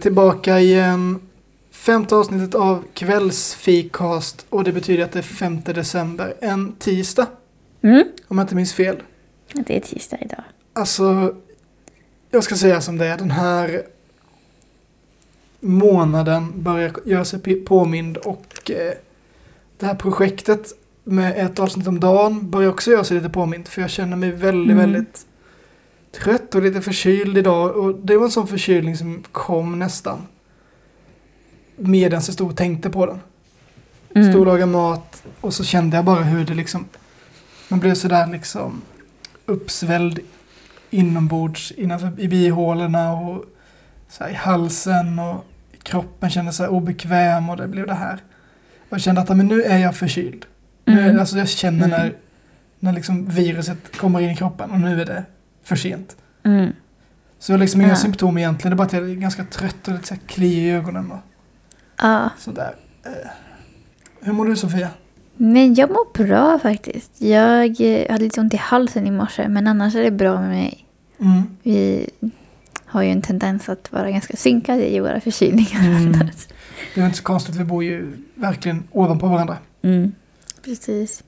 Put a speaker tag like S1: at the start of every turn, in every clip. S1: tillbaka igen. Femte avsnittet av Kvällsfikast och det betyder att det är 5 december, en tisdag
S2: Mm,
S1: om jag inte minns fel.
S2: det är tisdag idag.
S1: Alltså, jag ska säga som det är, den här månaden börjar göra sig p- påmind och eh, det här projektet med ett avsnitt om dagen börjar också göra sig lite påmind för jag känner mig väldigt,
S2: Mm.
S1: väldigt trött och lite förkyld idag och det var en sån förkylning som kom nästan medan jag stod och tänkte på den.
S2: Mm.
S1: Stod och lagade mat och så kände jag bara hur det liksom Man blev sådär liksom uppsvälld inombords innanför, i bihålorna och så här, i halsen och kroppen kändes så här obekväm och det blev det här. Och jag kände att "Ah, men nu är jag förkyld. Nu, är-
S2: Mm.
S1: alltså jag känner när,
S2: Mm.
S1: när liksom viruset kommer in i kroppen och nu är det för sent.
S2: Mm.
S1: Så jag har liksom inga
S2: Ja.
S1: symptom egentligen, det är bara att jag är ganska trött och lite så här kli i ögonen och
S2: Ja,
S1: sådär. Eh, Hur mår du Sofia?
S2: men jag mår bra faktiskt. Jag eh, hade lite ont i halsen i morse, men annars är det bra med mig.
S1: Mm.
S2: Vi har ju en tendens att vara ganska synkade i våra förkylningar.
S1: Mm. Det är inte så konstigt, vi bor ju verkligen ovanpå varandra.
S2: Mm. Precis.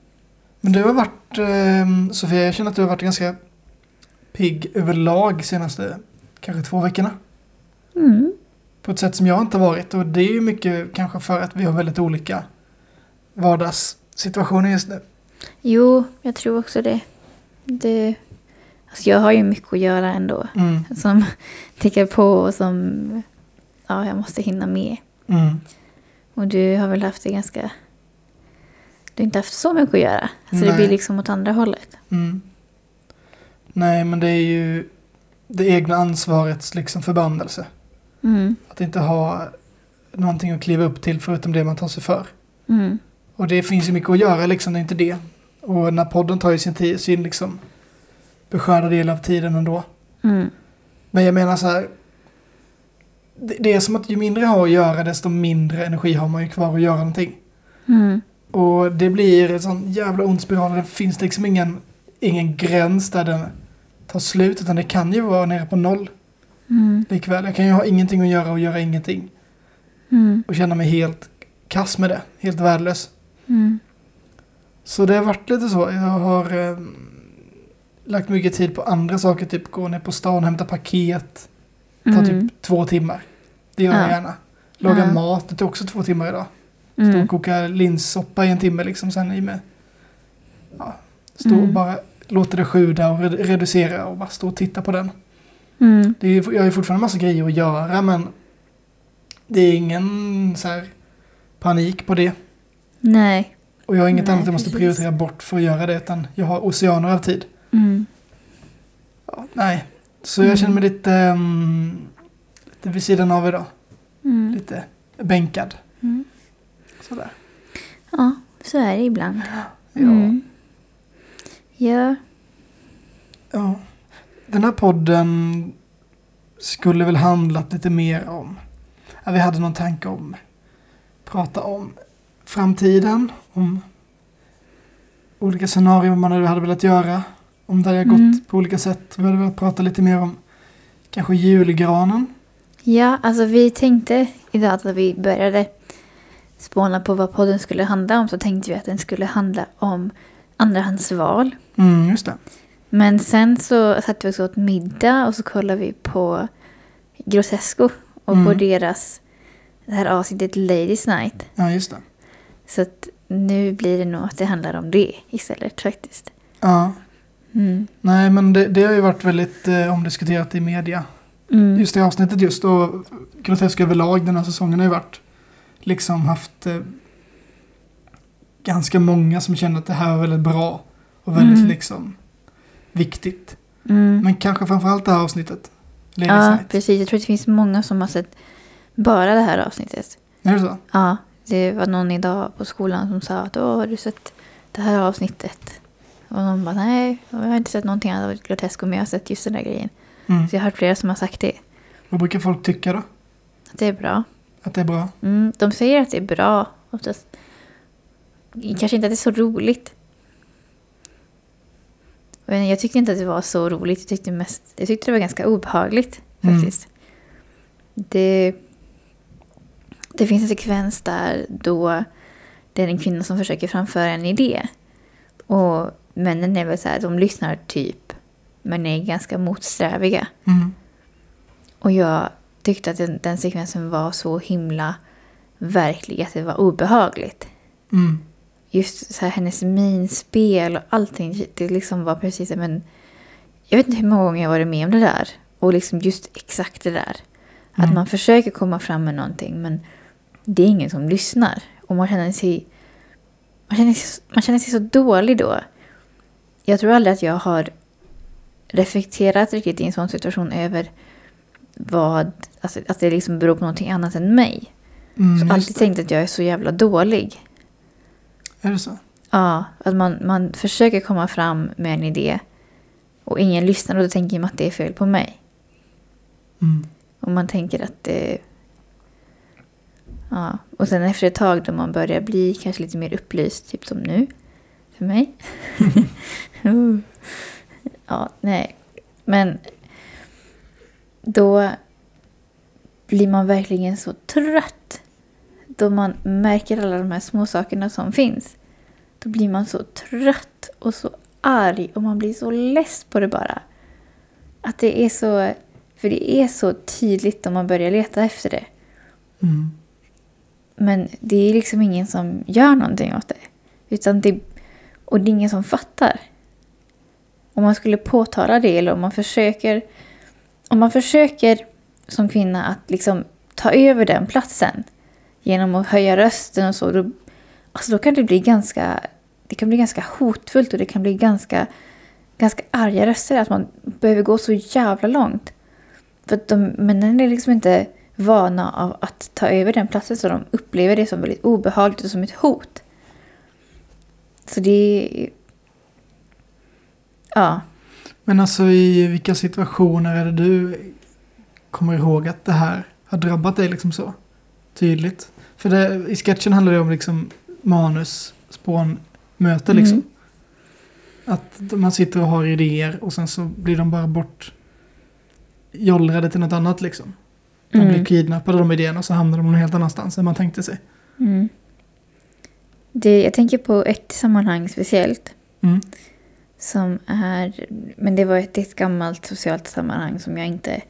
S1: Men du har varit, eh, Sofia, jag känner att du har varit ganska pigg överlag senaste kanske två veckorna.
S2: Mm.
S1: På ett sätt som jag inte har varit och det är ju mycket kanske för att vi har väldigt olika vardagssituationer just nu.
S2: Jo, jag tror också det. det alltså jag har ju mycket att göra ändå.
S1: Mm.
S2: Som tickar på och som ja, jag måste hinna med.
S1: Mm.
S2: Och du har väl haft det ganska... Du har inte haft så mycket att göra. Så det
S1: Nej.
S2: blir liksom åt andra hållet.
S1: Mm. Nej, men det är ju det egna ansvarets liksom förbannelse.
S2: Mm.
S1: Att inte ha någonting att kliva upp till förutom det man tar sig för.
S2: Mm.
S1: Och det finns ju mycket att göra liksom, det är inte det. Och när podden tar ju sin tid, sin liksom beskärda del av tiden ändå.
S2: Mm.
S1: Men jag menar så här. Det, det är som att ju mindre jag har att göra desto mindre energi har man ju kvar att göra någonting.
S2: Mm.
S1: Och det blir en sån jävla ond spiral. Det finns liksom ingen, ingen gräns där den tar slut. Utan det kan ju vara nere på noll
S2: Mm.
S1: likväl. Jag kan ju ha ingenting att göra och göra ingenting.
S2: Mm.
S1: Och känna mig helt kass med det. Helt värdelös.
S2: Mm.
S1: Så det har varit lite så. Jag har eh, lagt mycket tid på andra saker, typ gå ner på stan, hämta paket. Det tar
S2: Mm.
S1: typ två timmar. Det gör jag
S2: Ja.
S1: gärna. Laga
S2: Ja.
S1: mat, det tar också två timmar idag. Stå
S2: Mm.
S1: och koka linssoppa i en timme liksom, sen i med. Ja, stå och
S2: Mm.
S1: bara låta det sjuda och re- reducera och bara stå och titta på den.
S2: Mm.
S1: Det är, ju- jag har ju fortfarande massa grejer att göra men det är ingen så här panik på det.
S2: Nej.
S1: Och jag har inget
S2: Nej,
S1: annat jag måste
S2: precis.
S1: prioritera bort för att göra det utan jag har oceaner av tid.
S2: Mm.
S1: Ja, nej, så jag känner mig lite, ehm, lite vid sidan av idag.
S2: Mm.
S1: Lite bänkad.
S2: Mm.
S1: Sådär.
S2: Ja, så är det ibland.
S1: Ja.
S2: Mm. Ja.
S1: ja. Den här podden skulle väl handlat lite mer om, ja, vi hade någon tanke om, prata om framtiden, om olika scenarier man hade hade velat göra, om det hade gått
S2: Mm.
S1: på olika sätt. Vi hade velat prata lite mer om kanske julgranen.
S2: ja, alltså vi tänkte idag att när vi började spåna på vad podden skulle handla om så tänkte vi att den skulle handla om andrahandsval.
S1: Mm, just det.
S2: Men sen så satt vi också åt middag och så kollade vi på Grotesco och på
S1: Mm.
S2: deras, det här avsnittet Ladies Night.
S1: Ja, just det.
S2: Så att nu blir det nog att det handlar om det istället faktiskt.
S1: Ja.
S2: Mm.
S1: Nej, men det, det har ju varit väldigt eh, omdiskuterat i media.
S2: Mm.
S1: Just det avsnittet just och grotesk överlag den här säsongen har ju varit liksom haft eh, ganska många som känner att det här är väldigt bra och väldigt
S2: Mm.
S1: liksom viktigt.
S2: Mm.
S1: Men kanske framförallt det här avsnittet. Ladies
S2: Ja,
S1: Night.
S2: precis. Jag tror att det finns många som har sett bara det här avsnittet.
S1: Är det så?
S2: Ja, det var någon idag på skolan som sa att Åh, har du sett det här avsnittet? Och någon bara nej, jag har inte sett någonting annat av Grotesco men jag har sett just den där grejen.
S1: Mm.
S2: Så jag har hört flera som har sagt det.
S1: Vad brukar folk tycka då?
S2: Att det är bra.
S1: Att det är bra?
S2: Mm, de säger att det är bra oftast. Kanske inte att det är så roligt. Men jag tyckte inte att det var så roligt. Jag tyckte, mest, jag tyckte det var ganska obehagligt
S1: Mm.
S2: faktiskt. Det, Det finns en sekvens där då det är en kvinna som försöker framföra en idé. Och männen är väl så här, de lyssnar typ, men är ganska motsträviga.
S1: Mm.
S2: Och jag tyckte att den, den sekvensen var så himla verklig att det var obehagligt.
S1: Mm.
S2: Just så här, hennes minspel och allting, det liksom var precis som en... Jag vet inte hur många gånger jag varit med om det där. Och liksom just exakt det där. Att
S1: Mm.
S2: man försöker komma fram med någonting men det är ingen som lyssnar. Och man känner sig, man känner sig, man känner sig så dålig då. Jag tror aldrig att jag har reflekterat riktigt i en sån situation över vad, alltså, att det liksom beror på någonting annat än mig.
S1: Mm,
S2: Så
S1: just
S2: alltid
S1: det.
S2: tänkt att jag är så jävla dålig.
S1: Är det så?
S2: Ja, att man, man försöker komma fram med en idé och ingen lyssnar och då tänker man att det är fel på mig.
S1: Mm.
S2: Och man tänker att det... Ja. Och sen efter ett tag då man börjar bli kanske lite mer upplyst, typ som nu. För mig. Uh. ja, nej. Men då blir man verkligen så trött. Då man märker alla de här små sakerna som finns. Då blir man så trött och så arg och man blir så less på det bara. Att det är så... För det är så tydligt om man börjar leta efter det.
S1: Mm.
S2: Men det är liksom ingen som gör någonting åt det. Utan det och det är ingen som fattar. Om man skulle påtala det eller om man försöker... Om man försöker som kvinna att liksom ta över den platsen genom att höja rösten och så, då, alltså då kan det bli ganska... Det kan bli ganska hotfullt och det kan bli ganska, ganska arga röster. Att man behöver gå så jävla långt. För att de, männen är liksom inte vana av att ta över den platsen så de upplever det som väldigt obehagligt och som ett hot. Så det är... Ja.
S1: Men alltså i vilka situationer är det du kommer ihåg att det här har drabbat dig liksom så tydligt? För det, i sketchen handlar det om liksom manus, spån, möte liksom.
S2: Mm.
S1: Att man sitter och har idéer och sen så blir de bara bort jollrade till något annat liksom. De blir
S2: Mm.
S1: kidnappade de idéerna och så hamnar de någon helt annanstans än man tänkte sig.
S2: Mm. Det, jag tänker på ett sammanhang speciellt.
S1: Mm.
S2: Som är... Men det var ett, det är ett gammalt socialt sammanhang som jag inte,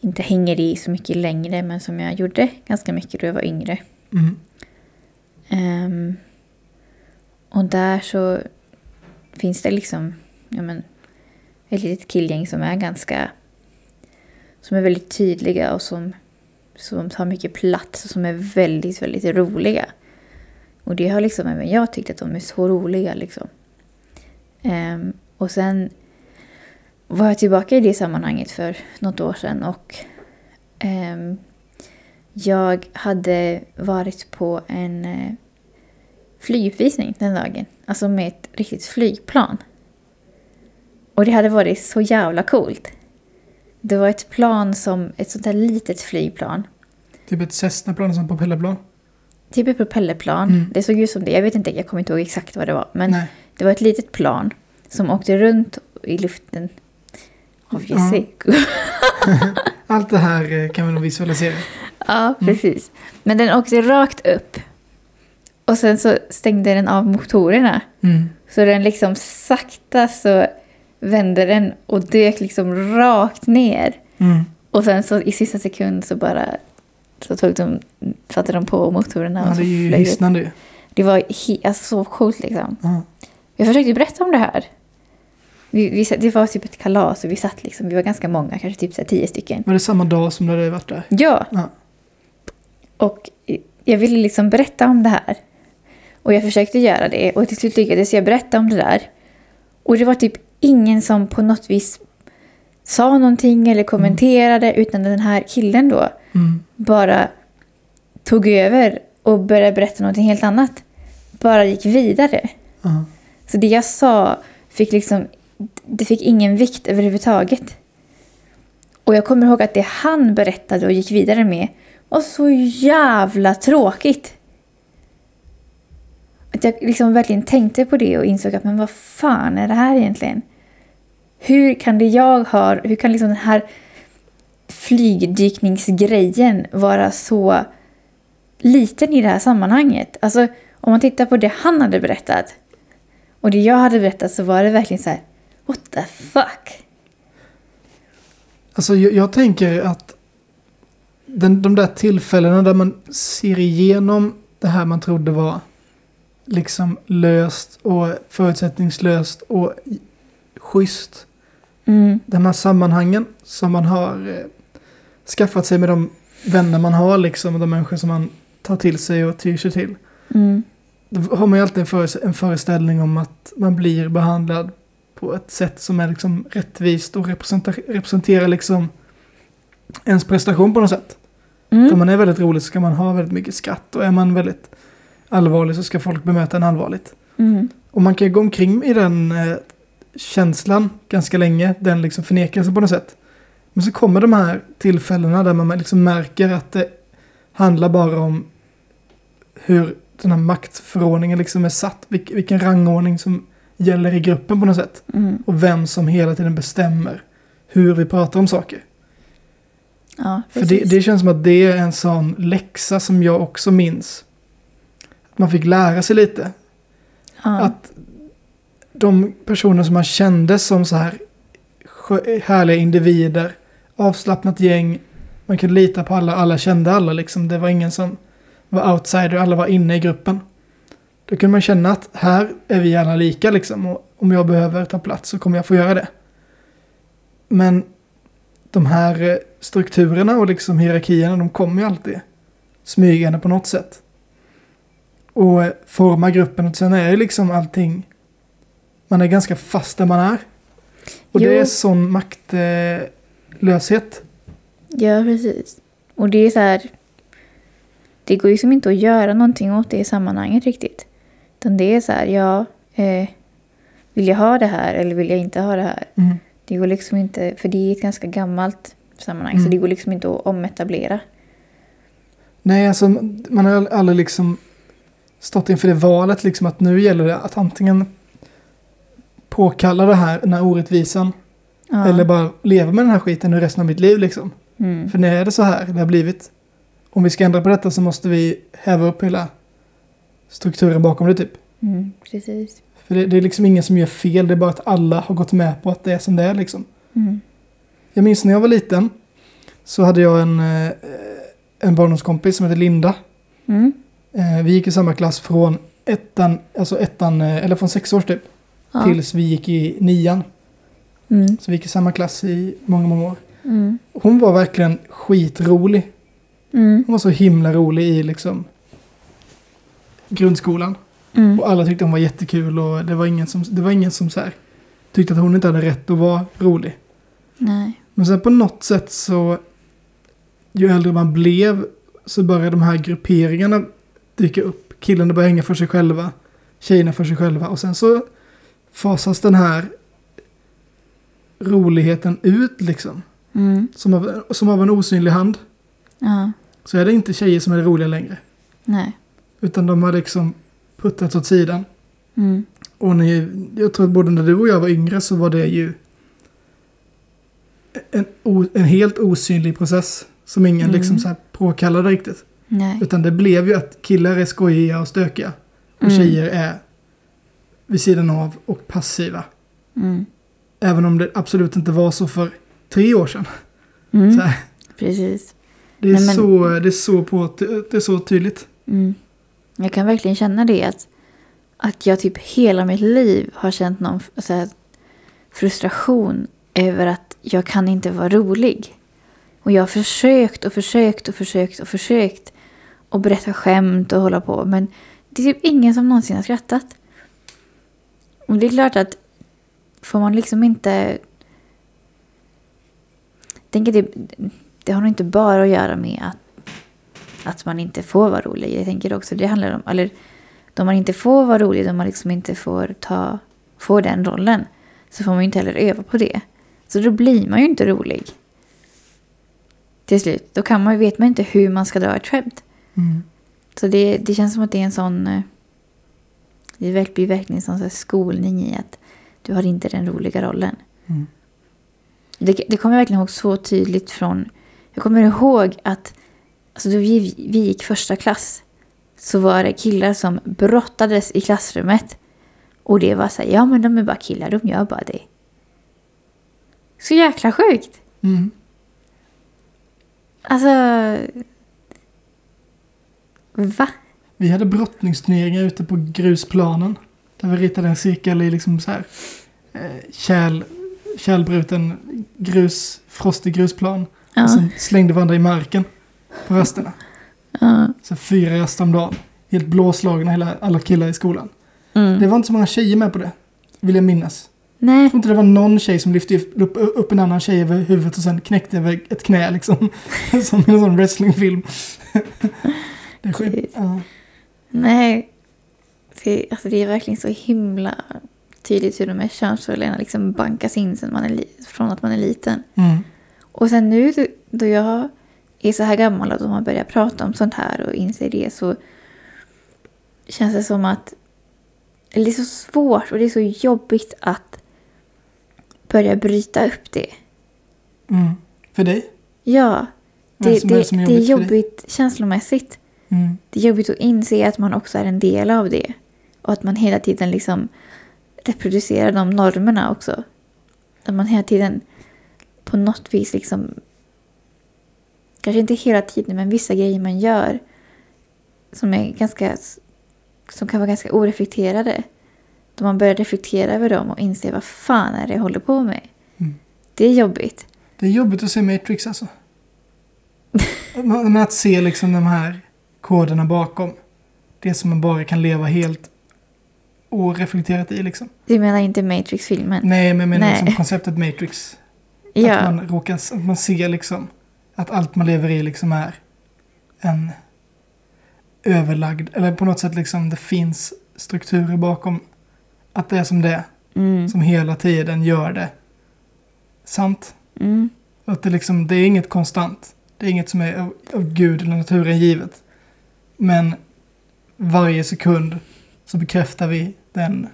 S2: inte hänger i så mycket längre men som jag gjorde ganska mycket då jag var yngre.
S1: Mm.
S2: Ehm, och där så finns det liksom ja men, ett litet killgäng som är ganska... Som är väldigt tydliga och som, som tar mycket plats och som är väldigt, väldigt roliga. Och det har liksom även jag tyckt att de är så roliga liksom. Ehm, och sen var jag tillbaka i det sammanhanget för något år sedan och ehm, jag hade varit på en eh, flyguppvisning den dagen. Alltså med ett riktigt flygplan. Och det hade varit så jävla coolt. Det var ett plan som, ett sånt där litet flygplan.
S1: Typ ett Cessna-plan som propellerplan.
S2: Typ ett propellerplan.
S1: Mm.
S2: Det såg ut som det. Jag vet inte, jag kommer inte ihåg exakt vad det var. Men
S1: Nej.
S2: det var ett litet plan som åkte runt i luften. Obviously.
S1: Allt det här eh, kan vi nog visualisera. Mm.
S2: Ja, precis. Men den åkte rakt upp. Och sen så stängde den av motorerna.
S1: Mm.
S2: Så den liksom sakta så vände den och dök liksom rakt ner.
S1: Mm.
S2: Och sen så i sista sekund så bara så tog de, satte de på motorerna
S1: Ja,
S2: och så
S1: det är ju
S2: flög ut.
S1: hisnande ju.
S2: Det var he- alltså, så coolt liksom.
S1: Ja.
S2: Jag försökte ju berätta om det här. Vi, vi, satt- det var typ ett kalas och vi satt liksom, vi var ganska många, kanske typ så här tio stycken.
S1: Var det samma dag som du hade varit där?
S2: Ja,
S1: Ja.
S2: och jag ville liksom berätta om det här. Och jag försökte göra det och till slut lyckades jag berätta om det där. Och det var typ ingen som på något vis sa någonting eller kommenterade utan den här killen då
S1: Mm.
S2: bara tog över och började berätta någonting helt annat. Bara gick vidare.
S1: Ja.
S2: Så det jag sa fick liksom, det fick ingen vikt överhuvudtaget. Och jag kommer ihåg att det han berättade och gick vidare med var så jävla tråkigt. Att jag liksom verkligen tänkte på det och insåg att men vad fan är det här egentligen? Hur kan det jag har, hur kan liksom den här flygdykningsgrejen vara så liten i det här sammanhanget. Alltså, om man tittar på det han hade berättat och det jag hade berättat så var det verkligen så här, what the fuck?
S1: Alltså jag, jag tänker att den, de där tillfällena där man ser igenom det här man trodde var liksom löst och förutsättningslöst och i- schysst.
S2: Mm.
S1: De här sammanhangen som man har eh, skaffat sig med de vänner man har liksom och de människor som man tar till sig och tyr sig till.
S2: Mm.
S1: Då har man ju alltid en, föres- en föreställning om att man blir behandlad på ett sätt som är liksom rättvist och representa- representerar liksom ens prestation på något sätt. Om
S2: Mm.
S1: man är väldigt rolig så ska man ha väldigt mycket skratt och är man väldigt allvarlig så ska folk bemöta en allvarligt.
S2: Mm.
S1: Och man kan ju gå omkring i den eh, känslan ganska länge, den liksom förnekelsen på något sätt. Men så kommer de här tillfällena där man liksom märker att det handlar bara om hur den här maktförordningen liksom är satt, vilk- vilken rangordning som gäller i gruppen på något sätt.
S2: Mm.
S1: Och vem som hela tiden bestämmer hur vi pratar om saker.
S2: Ja,
S1: För det,
S2: precis.
S1: det känns som att det är en sån läxa som jag också minns. Att man fick lära sig lite.
S2: ja.
S1: Att de personer som man kände som så här skö- härliga individer, avslappnat gäng, man kunde lita på alla, alla kände alla liksom. Det var ingen som var outsider, alla var inne i gruppen. Då kunde man känna att här är vi alla lika liksom och om jag behöver ta plats så kommer jag få göra det. Men de här eh, strukturerna och liksom hierarkierna de kommer ju alltid smygande på något sätt. Och eh, forma gruppen och sen är ju liksom allting man är ganska fast där man är. Och det
S2: Jo.
S1: är sån maktlöshet.
S2: ja, precis. Och det är så här, det går ju som inte att göra någonting åt det i sammanhanget riktigt. Utan det är så här, ja, eh, vill jag ha det här eller vill jag inte ha det här?
S1: Mm.
S2: Det går liksom inte, för det är ett ganska gammalt sammanhang så
S1: Mm.
S2: det går liksom inte att ometablera.
S1: Nej, alltså man har aldrig liksom stått inför det valet liksom att nu gäller det att antingen påkalla det här, den här orättvisan
S2: Ja.
S1: eller bara leva med den här skiten nu resten av mitt liv liksom.
S2: mm.
S1: För nu är det så här det har blivit. Om vi ska ändra på detta så måste vi häva upp hela strukturen bakom det typ.
S2: Mm, precis.
S1: För det, det är liksom ingen som gör fel, det är bara att alla har gått med på att det är som det är liksom.
S2: Mm.
S1: Jag minns när jag var liten så hade jag en, eh, en barndomskompis som hette Linda.
S2: Mm.
S1: Eh, Vi gick i samma klass från ettan, alltså ettan, eh, eller från sex års typ,
S2: Ja.
S1: tills vi gick i nian.
S2: Mm.
S1: Så vi gick i samma klass i många, många år.
S2: Mm.
S1: Hon var verkligen skitrolig.
S2: Mm.
S1: Hon var så himla rolig i liksom grundskolan.
S2: Mm.
S1: Och alla tyckte hon var jättekul och det var ingen som, det var ingen som så här, tyckte att hon inte hade rätt att vara rolig.
S2: Nej.
S1: Men sen på något sätt så, ju äldre man blev så började de här grupperingarna dyka upp. Killarna började hänga för sig själva, tjejerna för sig själva och sen så fasas den här roligheten ut liksom.
S2: Mm.
S1: Som av, som av en osynlig hand
S2: Ja.
S1: så är det inte tjejer som är roliga längre.
S2: Nej.
S1: Utan de har liksom puttats åt sidan.
S2: Mm.
S1: Och ni, jag tror att både när du och jag var yngre så var det ju en, o, en helt osynlig process som ingen
S2: Mm.
S1: liksom så här påkallade riktigt.
S2: Nej.
S1: Utan det blev ju att killar är skojiga och stökiga och
S2: Mm.
S1: tjejer är vid sidan av och passiva.
S2: Mm.
S1: Även om det absolut inte var så för tre år sedan.
S2: Mm.
S1: Så här,
S2: Precis.
S1: det, är
S2: Nej, men-
S1: så, det, är så på, det är så tydligt.
S2: Mm. Jag kan verkligen känna det att, att jag typ hela mitt liv har känt någon f- så här, frustration över att jag kan inte vara rolig. Och jag har försökt och försökt och försökt och försökt och berätta skämt och hålla på men det är typ ingen som någonsin har skrattat. Och det är klart att får man liksom inte... Jag Tänker det, det har nog inte bara att göra med att att man inte får vara rolig. Jag tänker också det handlar om, eller då man inte får vara rolig, då man liksom inte får ta, får den rollen, så får man ju inte heller öva på det. Så då blir man ju inte rolig. Till slut, då kan man, vet man inte hur man ska dra ett skämt.
S1: Mm.
S2: Så det, det känns som att det är en sån, eh, det verk- blir verkligen en sån så här skolning i att du har inte den roliga rollen.
S1: Mm.
S2: Det, det kommer jag verkligen ihåg så tydligt från... Jag kommer ihåg att alltså då vi, vi gick första klass så var det killar som brottades i klassrummet. Och det var så här, ja men de är bara killar, de gör bara det. Så jäkla sjukt!
S1: Mm.
S2: Alltså... Va?
S1: Vi hade brottningsturneringar ute på grusplanen. Där vi ritade en cirkel i liksom så här eh, kärl, kärlbruten grus, frostig grusplan.
S2: Ja.
S1: Och sen slängde varandra i marken på rasterna.
S2: Ja.
S1: Så fyra raster om dagen. Helt blåslagna hela, alla killar i skolan.
S2: Mm.
S1: Det var inte så många tjejer med på det. Vill jag minnas.
S2: Nej.
S1: Jag tror inte det var någon tjej som lyfte upp, upp en annan tjej över huvudet och sen knäckte över ett knä liksom. Som i en sån wrestlingfilm. Det är sjukt. Ja.
S2: Nej. Det, alltså det är verkligen så himla tydligt hur de här könsrollerna liksom bankas in sen man är li- från att man är liten.
S1: Mm.
S2: Och sen nu då- då jag är så här gammal och de har börjat prata om sånt här och inser det så känns det som att eller det är så svårt och det är så jobbigt att börja bryta upp det.
S1: Mm. För dig?
S2: Ja,
S1: Vad är
S2: det,
S1: som- vad är
S2: det,
S1: som är
S2: det är
S1: jobbigt för dig?
S2: jobbigt känslomässigt.
S1: Mm.
S2: Det är jobbigt att inse att man också är en del av det. Och att man hela tiden liksom reproducerar de normerna också. Att man hela tiden på något vis liksom... Kanske inte hela tiden, men vissa grejer man gör som, är ganska, som kan vara ganska oreflekterade. Då man börjar reflektera över dem och inse vad fan är det jag håller på med.
S1: Mm.
S2: Det är jobbigt.
S1: Det är jobbigt att se Matrix alltså. Men men att se liksom de här koderna bakom. Det som man bara kan leva helt oreflekterat i liksom.
S2: Du menar inte Matrix-filmen?
S1: Nej, men jag menar
S2: Nej.
S1: liksom konceptet Matrix.
S2: ja.
S1: Att man råkar, att man ser liksom att allt man lever i liksom är en överlagd, eller på något sätt liksom det finns strukturer bakom. Att det är som det är,
S2: Mm.
S1: som hela tiden gör det sant.
S2: Mm.
S1: Att det, liksom, det är inget konstant. Det är inget som är av, av Gud eller naturen givet. Men varje sekund så bekräftar vi den...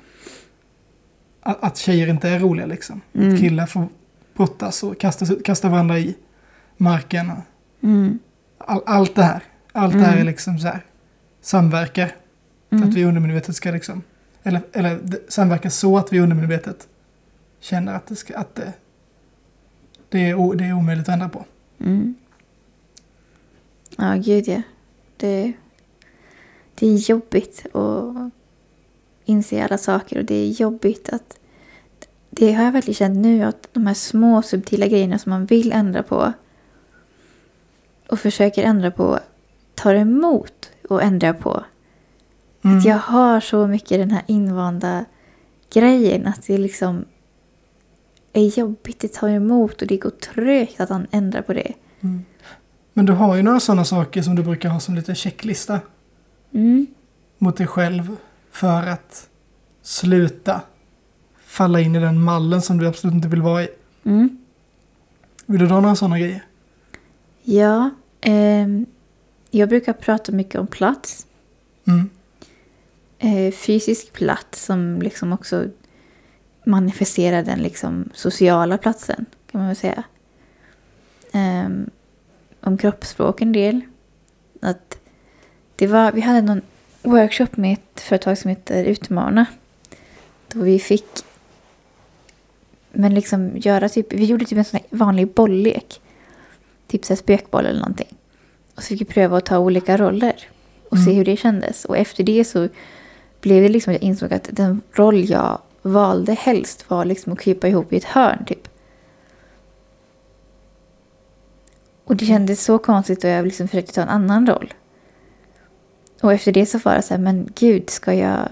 S1: Att, att tjejer inte är roliga liksom.
S2: Mm.
S1: Att killar får brottas och kastas, kasta varandra i marken.
S2: Mm.
S1: All, allt det här. Allt det här
S2: Mm.
S1: är liksom så här. Samverkar.
S2: Mm.
S1: Att vi undermedvetet ska liksom... Eller, eller det- samverkar så att vi undermedvetet känner att det, ska, att det, det, är, o- det är omöjligt att ändra på.
S2: Mm. Ja, gud ja. Det, det är jobbigt att inse alla saker och det är jobbigt att... Det har jag verkligen känt nu, att de här små subtila grejerna som man vill ändra på och försöker ändra på tar emot att ändra på.
S1: Mm,
S2: Att jag har så mycket den här invanda grejen att det liksom är jobbigt, det tar emot och det går trögt att han ändrar på det.
S1: Mm. Men du har ju några sådana saker som du brukar ha som lite checklista
S2: Mm.
S1: mot dig själv för att sluta falla in i den mallen som du absolut inte vill vara i.
S2: Mm.
S1: Vill du dra några sådana grejer?
S2: Ja, ehm, jag brukar prata mycket om plats.
S1: Mm.
S2: Eh, fysisk plats som liksom också manifesterar den liksom sociala platsen, kan man väl säga. Ehm, om kroppsspråk en del. Att det var, vi hade någon workshop med ett företag som heter Utmana. Då vi fick men liksom göra typ, vi gjorde typ en sån här vanlig bolllek. Typ så här spökboll eller någonting. Och så fick vi pröva att ta olika roller och se
S1: Mm.
S2: hur det kändes. Och efter det så blev det liksom, jag insåg att den roll jag valde helst var liksom att krypa ihop i ett hörn typ. Och det kändes så konstigt och jag liksom försökte ta en annan roll. Och efter det så var det så här, men gud, ska jag...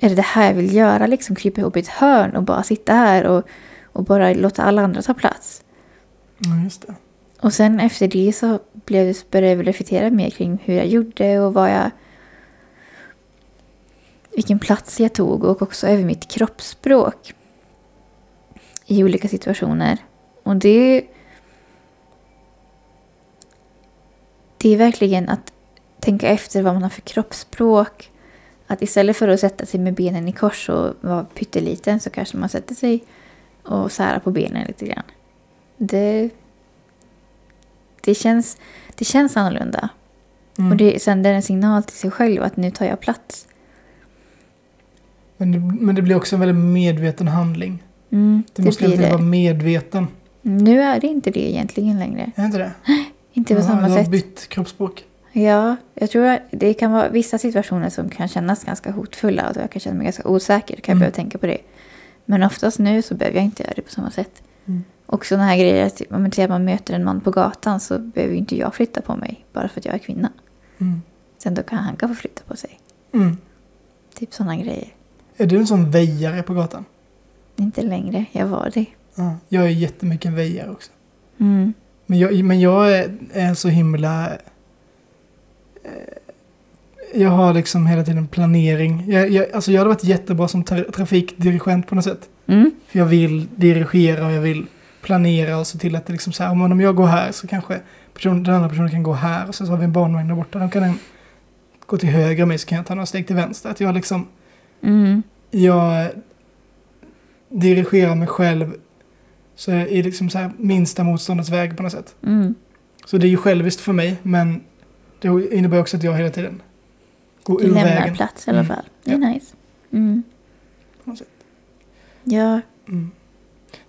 S2: Är det det här jag vill göra? Liksom krypa ihop i ett hörn och bara sitta här och, och bara låta alla andra ta plats.
S1: Ja, just det.
S2: Och sen efter det så blev det, började jag väl reflektera mer kring hur jag gjorde och vad jag... Vilken plats jag tog och också över mitt kroppsspråk. I olika situationer. Och det... Det är verkligen att tänka efter vad man har för kroppsspråk. Att istället för att sätta sig med benen i kors och vara pytteliten så kanske man sätter sig och särar på benen lite grann. Det Det känns, det känns annorlunda.
S1: Mm.
S2: Och det sänder en signal till sig själv att nu tar jag plats.
S1: Men, det, men det blir också en väldigt medveten handling.
S2: Mm,
S1: Du måste hela
S2: blir
S1: tiden
S2: det.
S1: vara medveten.
S2: Nu är det inte det egentligen längre.
S1: Är inte det?
S2: Inte på
S1: Ja,
S2: samma
S1: du
S2: sätt.
S1: har bytt kroppsspråk.
S2: Ja, jag tror att det kan vara vissa situationer som kan kännas ganska hotfulla och då jag kan känna mig ganska osäker. Då kan
S1: Mm.
S2: jag behöva tänka på det. Men oftast nu så behöver jag inte göra det på samma sätt.
S1: Mm.
S2: Och sådana här grejer, att om man till exempel möter en man på gatan så behöver ju inte jag flytta på mig bara för att jag är kvinna.
S1: Mm.
S2: Sen då kan han kanske flytta på sig.
S1: Mm.
S2: Typ sådana grejer.
S1: Är du en sån väjare på gatan?
S2: Inte längre, jag var det.
S1: Ja. Jag är jättemycket en väjare också.
S2: Mm.
S1: Men jag, men jag är, är så himla... eh, Jag har liksom hela tiden planering. Jag, jag, alltså jag hade varit jättebra som tra- trafikdirigent på något sätt.
S2: Mm.
S1: För jag vill dirigera och jag vill planera och se till att det liksom så här, men om jag går här så kanske person, den andra personen kan gå här och så, så har vi en barnvagn där borta. De kan en, gå till höger om mig så kan jag ta några steg till vänster. Att jag liksom,
S2: Mm.
S1: jag dirigerar mig själv så jag är liksom så här minsta motståndets väg på något sätt.
S2: Mm.
S1: Så det är ju själviskt för mig, men det innebär också att jag hela tiden går
S2: Du
S1: ur
S2: lämnar
S1: vägen.
S2: plats i alla
S1: Mm.
S2: fall. Det är nice. Mm.
S1: På något sätt.
S2: Ja.
S1: Mm.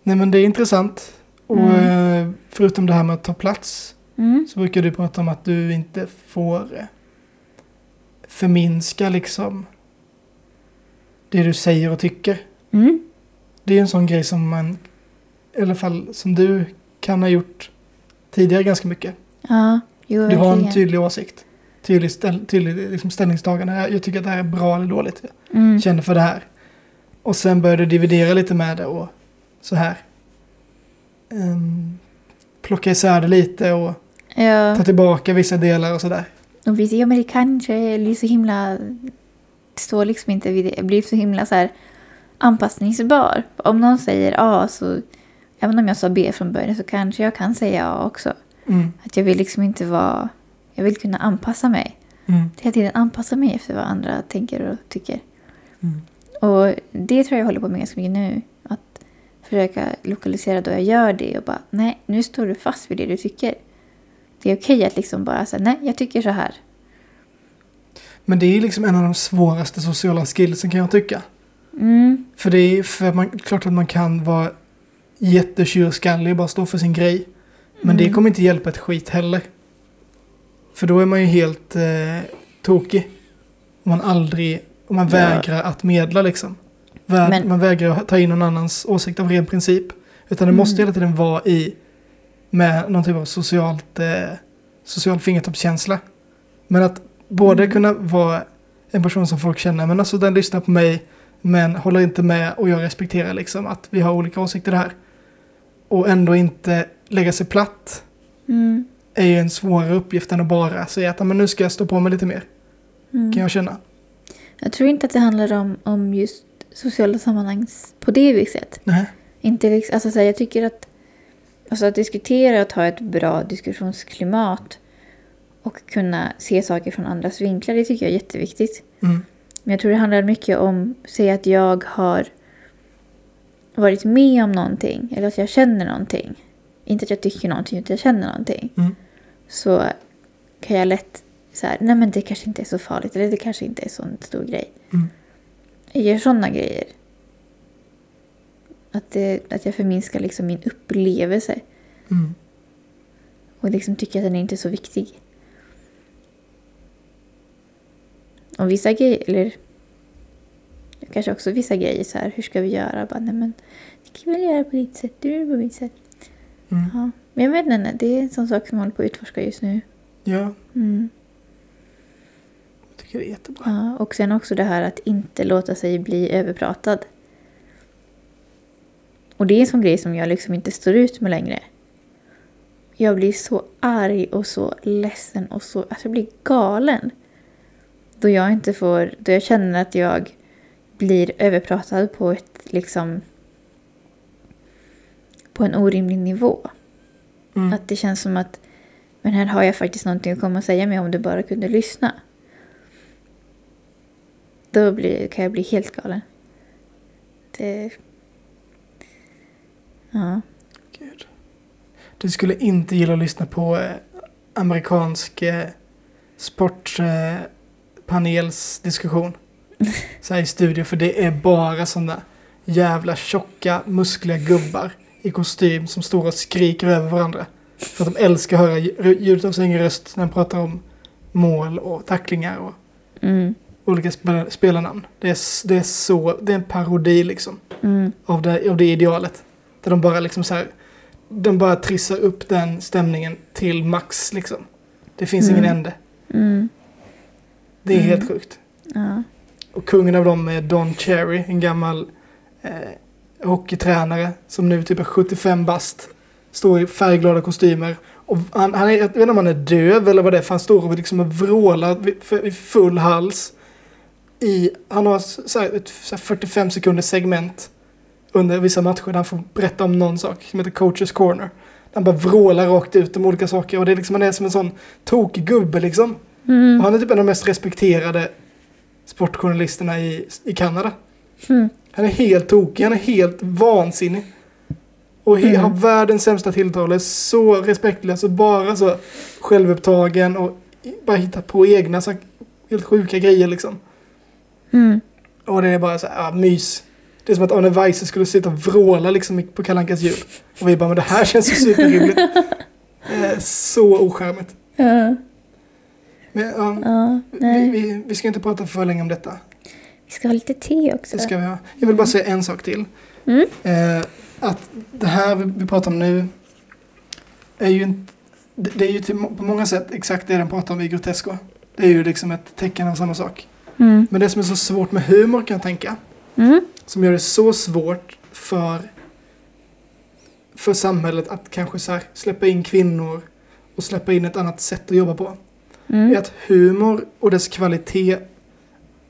S1: Nej men det är intressant. Och eh, förutom det här med att ta plats
S2: Mm.
S1: så brukar du prata om att du inte får eh, förminska liksom det du säger och tycker.
S2: Mm.
S1: Det är en sån grej som man, i alla fall som du kan ha gjort tidigare ganska mycket.
S2: Ja, jo
S1: Du har en
S2: verkligen.
S1: tydlig åsikt. Tydlig, ställ, tydlig liksom ställningstagande. Jag jag tycker att det här är bra eller dåligt.
S2: Mm.
S1: kände för det här. Och sen började jag dividera lite med det och så här. Um, plocka isär det lite och
S2: Ja.
S1: ta tillbaka vissa delar och sådär.
S2: Och vi, ja, men det kanske blir så himla... Det står liksom inte vid det. Det blir så himla så här anpassningsbar. Om någon säger A så... Även om jag sa B från början så kanske jag kan säga A också.
S1: Mm,
S2: Att jag vill liksom inte vara... Jag vill kunna anpassa mig.
S1: mm,
S2: Hela tiden anpassa mig efter vad andra tänker och tycker.
S1: mm,
S2: Och det tror jag håller på med ganska mycket nu. Att försöka lokalisera då jag gör det och bara nej, nu står du fast vid det du tycker. Det är okej att liksom bara säga nej, jag tycker så här.
S1: Men det är liksom en av de svåraste sociala skillsen kan jag tycka.
S2: Mm,
S1: För det är för man, klart att man kan vara jättetjurskallig och bara stå för sin grej. Men det
S2: Mm.
S1: kommer inte hjälpa ett skit heller. För då är man ju helt eh, tokig. Om man aldrig, om man
S2: Ja.
S1: vägrar att medla liksom. Vä-
S2: Men-
S1: Man vägrar att ta in någon annans åsikt av ren princip. Utan det måste
S2: Mm.
S1: hela tiden vara i med någon typ av socialt, eh, social fingertoppskänsla. Men att både
S2: Mm.
S1: kunna vara en person som folk känner, men alltså den lyssnar på mig, men håller inte med och jag respekterar liksom att vi har olika åsikter här. Och ändå inte lägga sig platt
S2: mm,
S1: är ju en svårare uppgift än att bara säga att "Ah, men nu ska jag stå på mig lite mer,
S2: mm.
S1: kan jag känna.
S2: Jag tror inte att det handlar om, om just sociala sammanhang s- på det viset.
S1: Nej.
S2: Inte liksom, alltså, så här, jag tycker att, alltså, att diskutera och ha ett bra diskussionsklimat och kunna se saker från andras vinklar, det tycker jag är jätteviktigt.
S1: Mm.
S2: Men jag tror det handlar mycket om, säg att jag har varit med om någonting eller att jag känner någonting. Inte att jag tycker någonting, utan jag känner någonting.
S1: Mm.
S2: Så kan jag lätt så här, nej men det kanske inte är så farligt eller det kanske inte är en sån stor grej.
S1: Mm.
S2: Jag gör sådana grejer. Att, det, att jag förminskar liksom min upplevelse
S1: Mm.
S2: och liksom tycker att den är inte är så viktig. Och vissa grejer, eller kanske också vissa grejer så här, hur ska vi göra? Bara, nej men, vi kan väl göra på ditt sätt, du gör det på mitt sätt.
S1: Mm.
S2: Ja. Men jag vet inte, det är en sån sak som jag håller på att utforska just nu.
S1: Ja,
S2: Mm.
S1: jag tycker det är jättebra.
S2: Ja. Och sen också det här att inte låta sig bli överpratad. Och det är en sån grej som jag liksom inte står ut med längre. Jag blir så arg och så ledsen och så... Alltså jag blir galen. Då jag inte får... Då jag känner att jag blir överpratad på ett liksom... På en orimlig nivå.
S1: Mm.
S2: Att det känns som att men här har jag faktiskt någonting att komma och säga med om du bara kunde lyssna. Då blir, kan jag bli helt galen. Det... Ja.
S1: Gud. Du skulle inte gilla att lyssna på eh, amerikansk eh, sportpanelsdiskussion. Så här i studio, för det är bara sådana jävla tjocka, muskliga gubbar i kostym som står och skriker över varandra. För att de älskar att höra lj- ljudet av sin egen röst när de pratar om mål och tacklingar och
S2: Mm.
S1: olika spel- spelarnamn. Det är, s- det är så, det är en parodi liksom
S2: Mm.
S1: av det, av det idealet. Där de bara liksom så här, de bara trissar upp den stämningen till max liksom. Det finns
S2: Mm.
S1: ingen ände.
S2: Mm.
S1: Det är
S2: Mm.
S1: helt sjukt.
S2: Ja.
S1: Och kungen av dem är Don Cherry, en gammal eh, hockeytränare som nu typ är 75 bast. Står i färgglada kostymer. Och han, han är, jag vet inte om han är döv eller vad det är, för han står och liksom vrålar vid- för- i full hals. I, han har så här, ett så här 45 sekunders segment under vissa matcher där han får berätta om någon sak som heter Coaches Corner. Där Han bara vrålar rakt ut om olika saker och det är liksom, han är som en sån tokig gubbe liksom. Och
S2: Mm.
S1: han är typ en av de mest respekterade sportjournalisterna i, i Kanada.
S2: Mm.
S1: Han är helt tokig, han är helt vansinnig. Och he,
S2: Mm.
S1: har världens sämsta tilltal, är så respektlös och bara så självupptagen och i- bara hittar på egna så här helt sjuka grejer liksom.
S2: Mm.
S1: Och det är bara så här, ah, mys. Det är som att Arne Weise skulle sitta och vråla liksom i- på Kalle Ankas jul. Och vi bara, men det här känns ju superrimligt. Det är så ocharmigt.
S2: Ja.
S1: Men, ja,
S2: Ja.
S1: vi,
S2: Nej.
S1: vi, vi ska inte prata för länge om detta.
S2: Vi ska ha lite te också.
S1: Det ska vi ha. Jag vill bara säga en sak till.
S2: Mm.
S1: Eh, att det här vi, vi pratar om nu är ju inte, det, det är ju till, må- på många sätt exakt det den pratar om i Grotesco. Det är ju liksom ett tecken av samma sak.
S2: Mm.
S1: Men det som är så svårt med humor kan jag tänka,
S2: Mm.
S1: som gör det så svårt för, för samhället att kanske så här släppa in kvinnor och släppa in ett annat sätt att jobba på är
S2: Mm.
S1: att humor och dess kvalitet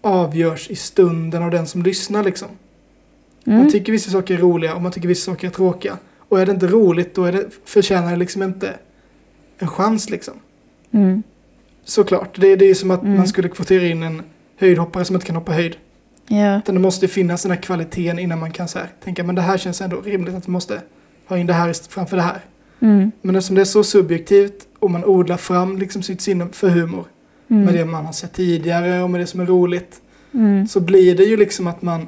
S1: avgörs i stunden av den som lyssnar liksom. Man
S2: Mm.
S1: tycker vissa saker är roliga och man tycker vissa saker är tråkiga. Och är det inte roligt då är det, förtjänar det liksom inte en chans liksom.
S2: Mm.
S1: Såklart, det, det är som att
S2: Mm.
S1: man skulle kvotera in en höjdhoppare som inte kan hoppa höjd.
S2: Ja.
S1: Utan det måste finnas den här kvaliteten innan man kan så här, tänka men det här känns ändå rimligt att vi måste ha in det här ist- framför det här.
S2: Mm.
S1: Men eftersom det är så subjektivt och man odlar fram liksom sitt sinne för humor med det
S2: Mm.
S1: man har sett tidigare och med det som är roligt
S2: Mm.
S1: så blir det ju liksom att man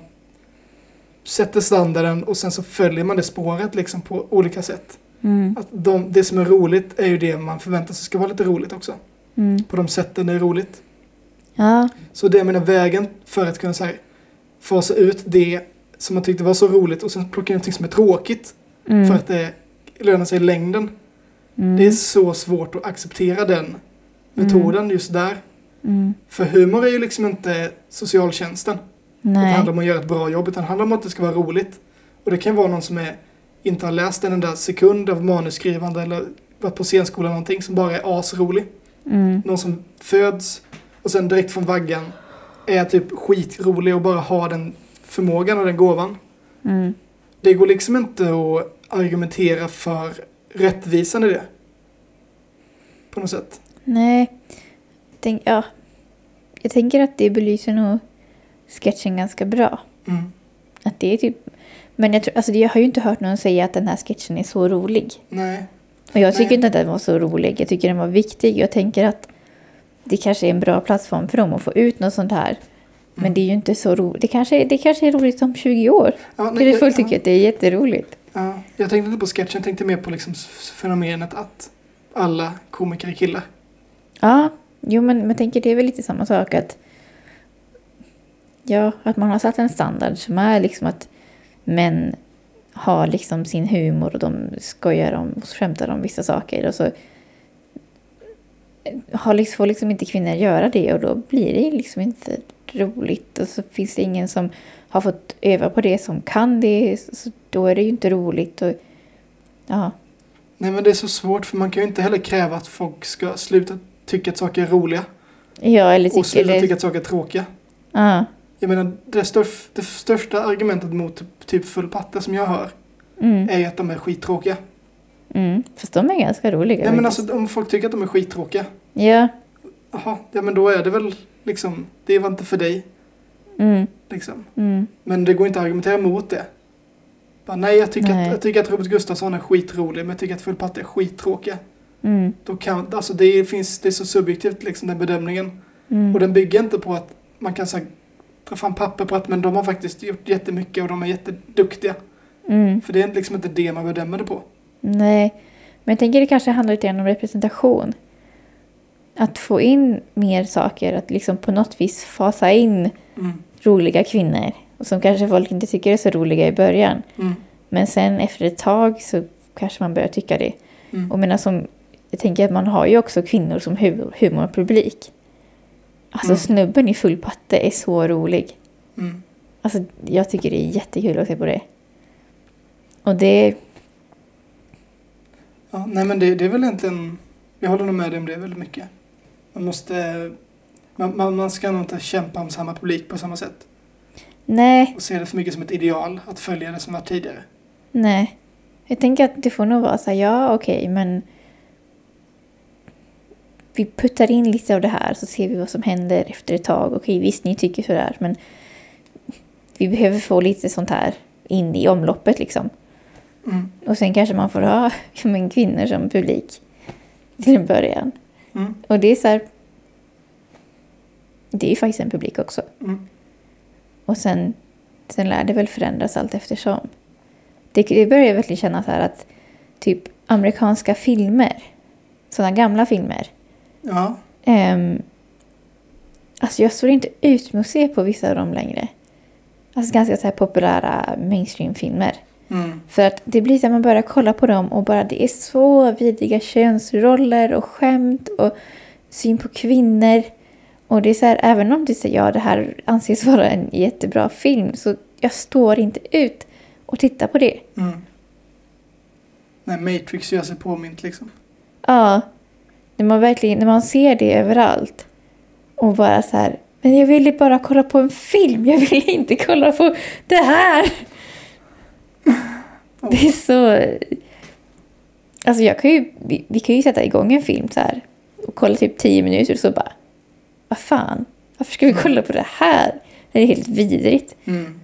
S1: sätter standarden och sen så följer man det spåret liksom på olika sätt.
S2: Mm.
S1: Att de, det som är roligt är ju det man förväntar sig ska vara lite roligt också.
S2: Mm.
S1: På de sätten det är roligt.
S2: Ja.
S1: Så det är mina vägen för att kunna så här, fasa ut det som man tyckte var så roligt och sen plocka in någonting som är tråkigt
S2: Mm.
S1: för att det lönar sig i längden.
S2: Mm.
S1: Det är så svårt att acceptera den metoden just där.
S2: Mm.
S1: För humor är ju liksom inte socialtjänsten. Att Det
S2: Nej.
S1: handlar om att göra ett bra jobb, utan det handlar om att det ska vara roligt. Och det kan vara någon som är, inte har läst en enda sekund av manusskrivande eller varit på scenskola eller någonting som bara är asrolig.
S2: Mm.
S1: Någon som föds och sen direkt från vaggan är typ skitrolig och bara har den förmågan och den gåvan.
S2: Mm.
S1: Det går liksom inte att argumentera för rättvisan i det. På något sätt.
S2: Nej. Tänk, ja. Jag tänker att det belyser nog sketchen ganska bra.
S1: Mm.
S2: Att det är typ... Men jag, tror, alltså jag har ju inte hört någon säga att den här sketchen är så rolig.
S1: Nej.
S2: Och jag tycker
S1: Nej.
S2: inte att den var så rolig. Jag tycker den var viktig. Jag tänker att det kanske är en bra plattform för dem att få ut något sånt här. Men
S1: Mm.
S2: det är ju inte så roligt. Det kanske, är- det kanske är roligt om 20 år.
S1: Ja,
S2: Det är det folk
S1: jag,
S2: tycker
S1: ja,
S2: att det är jätteroligt.
S1: ja. jag tänkte inte på sketchen, jag tänkte mer på liksom s- fenomenet att alla komiker är killar.
S2: Ja, jo men jag tänker det är väl lite samma sak att... Ja, att man har satt en standard som är liksom att män har liksom sin humor och de skojar om och skämtar om vissa saker och så har liksom, får liksom inte kvinnor göra det och då blir det liksom inte roligt och så finns det ingen som har fått öva på det som kan det så då är det ju inte roligt och ja,
S1: Nej men det är så svårt för man kan ju inte heller kräva att folk ska sluta tycka att saker är roliga
S2: ja eller
S1: och
S2: tycker
S1: sluta
S2: det,
S1: tycka att saker är tråkiga.
S2: ja,
S1: Jag menar det, störf, det största argumentet mot typ full patte som jag hör
S2: mm,
S1: är ju att de är skittråkiga.
S2: mm, fast de är ganska roliga
S1: Nej men
S2: faktiskt.
S1: alltså om folk tycker att de är skittråkiga,
S2: Ja.
S1: jaha, ja men då är det väl liksom, det var inte för dig
S2: Mm,
S1: liksom.
S2: mm,
S1: Men det går inte att argumentera mot det. Bara, nej, jag tycker,
S2: Nej.
S1: Att, jag tycker att Robert Gustafsson är skitrolig men jag tycker att full patte är skittråkiga.
S2: Mm.
S1: Då kan, alltså det, är, finns, det är så subjektivt liksom den bedömningen.
S2: Mm.
S1: Och den bygger inte på att man kan så här, ta fram papper på att men de har faktiskt gjort jättemycket och de är jätteduktiga.
S2: Mm.
S1: För det är liksom inte det man bedömer det på.
S2: Nej, men jag tänker det kanske handlar lite grann om representation. Att få in mer saker, att liksom på något vis fasa in
S1: Mm.
S2: roliga kvinnor som kanske folk inte tycker är så roliga i början.
S1: Mm.
S2: Men sen efter ett tag så kanske man börjar tycka det.
S1: Mm.
S2: Och menar som, jag tänker att man har ju också kvinnor som hu- humorpublik. Alltså
S1: Mm.
S2: snubben i full patte är så rolig.
S1: Mm.
S2: Alltså jag tycker det är jättekul att se på det. Och det,
S1: Ja, nej men det, det är väl egentligen, jag håller nog med dig om det väldigt mycket. Man måste, man, man, man ska nog inte kämpa om samma publik på samma sätt.
S2: nej,
S1: Och se det för mycket som ett ideal, att följa det som var tidigare.
S2: nej. Jag tänker att det får nog vara så här, ja okej men vi puttar in lite av det här så ser vi vad som händer efter ett tag. Okej visst ni tycker sådär men vi behöver få lite sånt här in i omloppet liksom.
S1: Mm.
S2: Och sen kanske man får ha ja, men, kvinnor som publik till en början.
S1: Mm.
S2: Och det är så här... Det är ju faktiskt en publik också.
S1: Mm.
S2: Och sen, sen lär det väl förändras allt eftersom. Det, det börjar jag verkligen känna så här att typ amerikanska filmer, sådana gamla filmer.
S1: Ja,
S2: ehm, alltså jag står inte ut med att se på vissa av dem längre. Alltså ganska så här populära mainstream-filmer.
S1: mm.
S2: För att det blir så att man börjar kolla på dem och bara det är så vidriga könsroller och skämt och syn på kvinnor. Och det är så här, även om det säger ja, det här anses vara en jättebra film så jag står inte ut och tittar på det.
S1: Mm. Nej, Matrix gör sig påmint liksom.
S2: Ja, när man verkligen, när man ser det överallt och bara så här, men jag ville bara kolla på en film, jag ville inte kolla på det här. Det är så... Alltså jag kan ju, vi, vi kan ju sätta igång en film så här och kolla typ tio minuter och så bara, vad fan, varför ska vi kolla på det här? Det är helt vidrigt.
S1: Mm.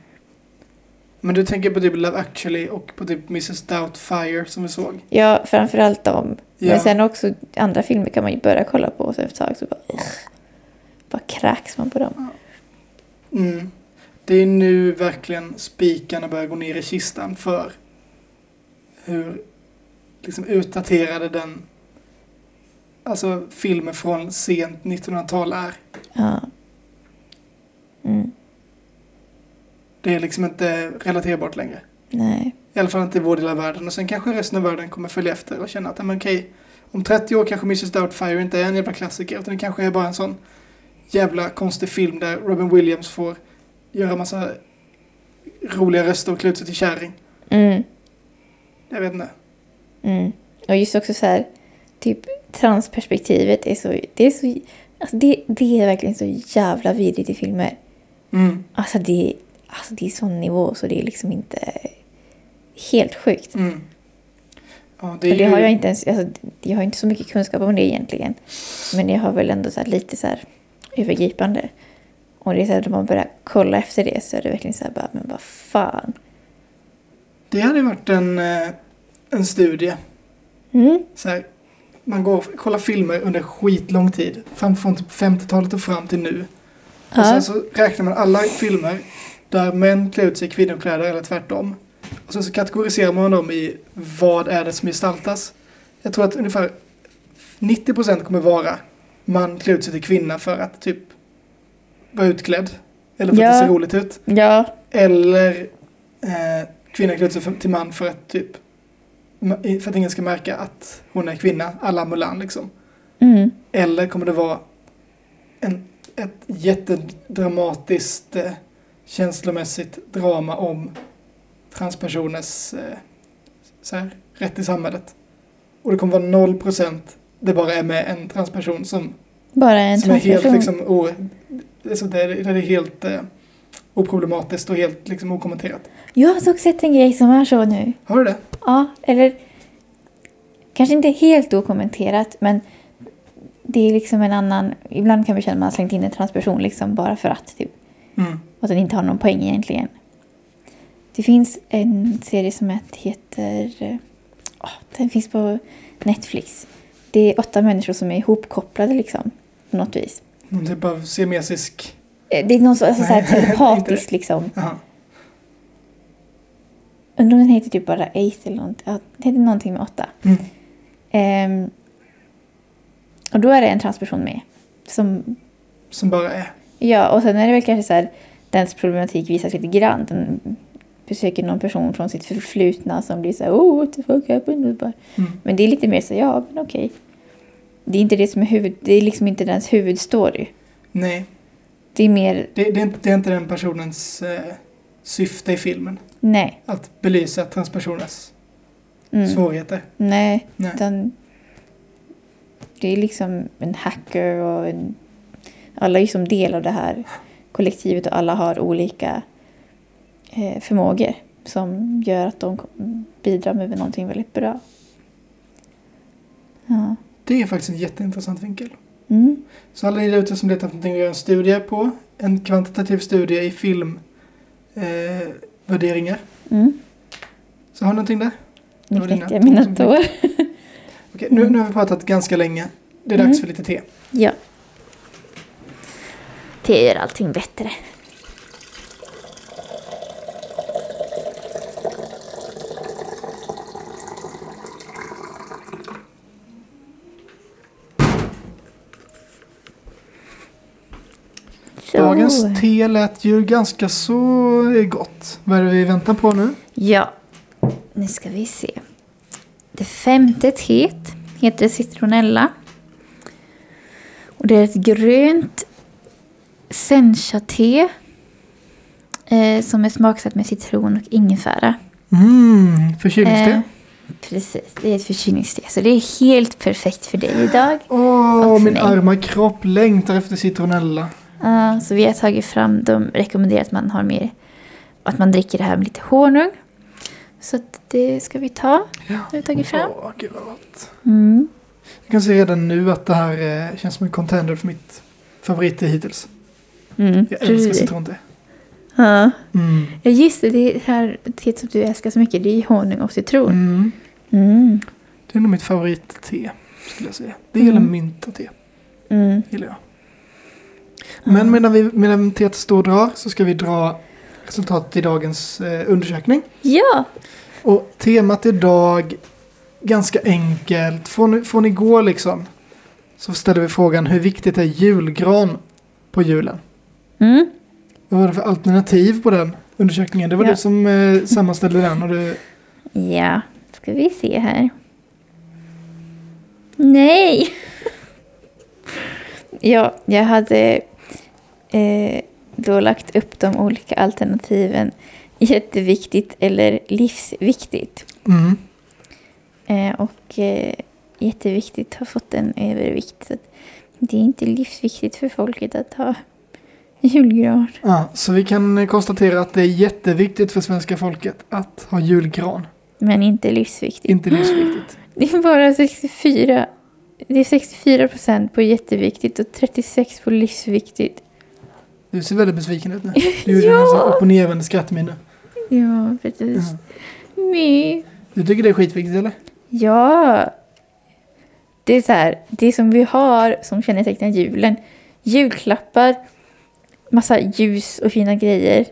S1: Men du tänker på typ Love actually och på typ Mrs Doubtfire som vi såg.
S2: Ja, framförallt dem.
S1: Ja.
S2: Men sen också andra filmer kan man ju börja kolla på och sen efter ett tag så bara, ugh, bara kräks man på dem.
S1: Mm. Det är nu verkligen spikarna börjar gå ner i kistan för hur liksom utdaterade den alltså filmer från sent 1900-tal är.
S2: Ja. Mm,
S1: Det är liksom inte relaterbart längre.
S2: nej.
S1: I alla fall inte i vår del av världen. Och sen kanske resten av världen kommer följa efter och känna att, "Ja, men okej, om 30 år kanske Mrs Doubtfire inte är en jävla klassiker, utan det kanske är bara en sån jävla konstig film där Robin Williams får göra massa roliga röster och klä ut sig till kärring.
S2: Mm,
S1: Jag vet inte.
S2: mm. Och just också så här, typ transperspektivet är så, det är så, alltså det, det är verkligen så jävla vidrigt i filmer.
S1: Mm.
S2: Alltså det, alltså det är sån nivå så det är liksom inte helt sjukt.
S1: Mm. Ja, det
S2: Det,
S1: är
S2: det har
S1: ju-
S2: jag inte ens, alltså, jag har inte så mycket kunskap om det egentligen. Men jag har väl ändå så här lite så här övergripande. Och det är så här, när man börjar kolla efter det så är det verkligen så här bara, men vad fan.
S1: det hade varit en, eh, en studie.
S2: Mm,
S1: Så här, man går och kollar filmer under skitlång tid. Fram från typ 50-talet och fram till nu. Och
S2: ja,
S1: sen så räknar man alla filmer där män klär ut sig i kvinnokläder eller tvärtom. Och sen så kategoriserar man dem i vad är det som gestaltas. Jag tror att ungefär 90% kommer vara man klär ut sig till kvinna för att typ vara utklädd. Eller för att
S2: Ja.
S1: det ser roligt ut.
S2: ja,
S1: Eller eh, kvinna klär ut sig för, till man för att typ ma- för att ingen ska märka att hon är kvinna, alla Mulan liksom.
S2: mm,
S1: Eller kommer det vara en, ett jättedramatiskt eh, känslomässigt drama om transpersoners eh, så här, rätt i samhället? Och det kommer vara 0 procent det bara är med en transperson som,
S2: bara en
S1: som är helt
S2: transperson.
S1: liksom o, alltså det, är- det är helt eh, oproblematiskt och helt liksom okommenterat.
S2: Jag har dock sett en grej som är så nu.
S1: Har du det?
S2: Ja, eller kanske inte helt okommenterat, men det är liksom en annan... Ibland kan man känna att man har slängt in en transperson liksom bara för att. Typ,
S1: Mm.
S2: och att den inte har någon poäng egentligen. Det finns en serie som het- heter... eh, ah, den finns på Netflix. det är åtta människor som är ihopkopplade liksom. På något vis.
S1: Någon typ av semesisk...
S2: Eh, Det är någon som, alltså, så
S1: Nej,
S2: här
S1: inte
S2: telepatiskt liksom.
S1: Jaha.
S2: Undrar om den heter typ bara Eight eller något. Ja, det heter någonting med åtta.
S1: Mm.
S2: Ehm, och då är det en transperson med. Som,
S1: Som bara är.
S2: ja, och sen är det väl kanske så här, dens problematik visas lite grann. Den besöker någon person från sitt förflutna som blir så här, oh what the fuck happened? Bara,
S1: Mm.
S2: Men det är lite mer så, ja men okej. Det är inte det som är huvud, det är liksom inte dens huvudstory.
S1: Nej,
S2: Det är mer,
S1: det, det, är inte, det är inte den personens eh, syfte i filmen.
S2: nej.
S1: Att belysa transpersoners
S2: Mm,
S1: svårigheter.
S2: Nej,
S1: Nej.
S2: utan det är liksom en hacker och en, alla är ju som del av det här kollektivet och alla har olika eh, förmågor som gör att de kom- bidrar med någonting väldigt bra. Ja.
S1: Det är faktiskt en jätteintressant vinkel.
S2: Mm.
S1: Så alla ni där ute som letar efter någonting att göra en studie på, en kvantitativ studie i filmvärderingar, eh, värderingar.
S2: Mm.
S1: så har ni någonting där? Det
S2: Nu
S1: var dina
S2: knäckte jag mina
S1: tankar.
S2: tår.
S1: Okej, nu, nu har vi pratat ganska länge. Det är dags
S2: Mm.
S1: för lite te.
S2: Ja. Det gör allting bättre. Så.
S1: Dagens te lät ju ganska så gott. Vad är det vi väntar på nu?
S2: Ja, nu ska vi se. Det femte teet heter citronella. Och det är ett grönt sencha-te eh, som är smaksatt med citron och ingefära.
S1: Mm, förkylningste.
S2: Eh, precis, det är ett förkylningste. Så det är helt perfekt för dig idag.
S1: Åh,
S2: och för
S1: min
S2: mig.
S1: arma kropp längtar efter citronella.
S2: Ja, Eh, så vi har tagit fram, de rekommenderar att man har mer, att man dricker det här med lite honung. Så att det ska vi ta, har vi tagit fram.
S1: Åh, gud vad gott.
S2: Mm.
S1: Jag kan se redan nu att det här eh, känns som en contender för mitt favoritte hittills.
S2: Mm,
S1: Jag
S2: tror du
S1: älskar
S2: det?
S1: citronte.
S2: Ja.
S1: Mm.
S2: ja, just det. Det här teet som du älskar så mycket, det är honung och citron.
S1: Mm.
S2: Mm.
S1: Det är nog mitt favoritte skulle jag säga. Det gäller
S2: Mm.
S1: myntate,
S2: Mm.
S1: gillar jag. Men medan, vi, medan teet står och drar så ska vi dra resultatet i dagens eh, undersökning.
S2: Ja!
S1: Och temat idag, ganska enkelt, från, från igår liksom. Så ställde vi frågan hur viktigt är julgran på julen?
S2: Mm.
S1: Vad var det för alternativ på den undersökningen? Det var
S2: Ja.
S1: du som eh, sammanställde den och du...
S2: Ja, ska vi se här. Nej! ja, jag hade eh, då lagt upp de olika alternativen jätteviktigt eller livsviktigt.
S1: Mm.
S2: Eh, och eh, jätteviktigt har fått en övervikt. Så att det är inte livsviktigt för folket att ha julgran.
S1: Ja, så vi kan eh, konstatera att det är jätteviktigt för svenska folket att ha julgran.
S2: Men inte livsviktigt.
S1: Inte livsviktigt.
S2: Det är bara 64. Det är 64 procent på jätteviktigt och 36 på livsviktigt.
S1: Du ser väldigt besviken ut nu. Du gjorde en sån opponerande skrattminne.
S2: Ja, precis.
S1: Ja.
S2: Nej.
S1: Du tycker det är skitviktigt eller?
S2: Ja. Det är så här, det som vi har som kännetecknar julen. Julklappar, massa ljus och fina grejer.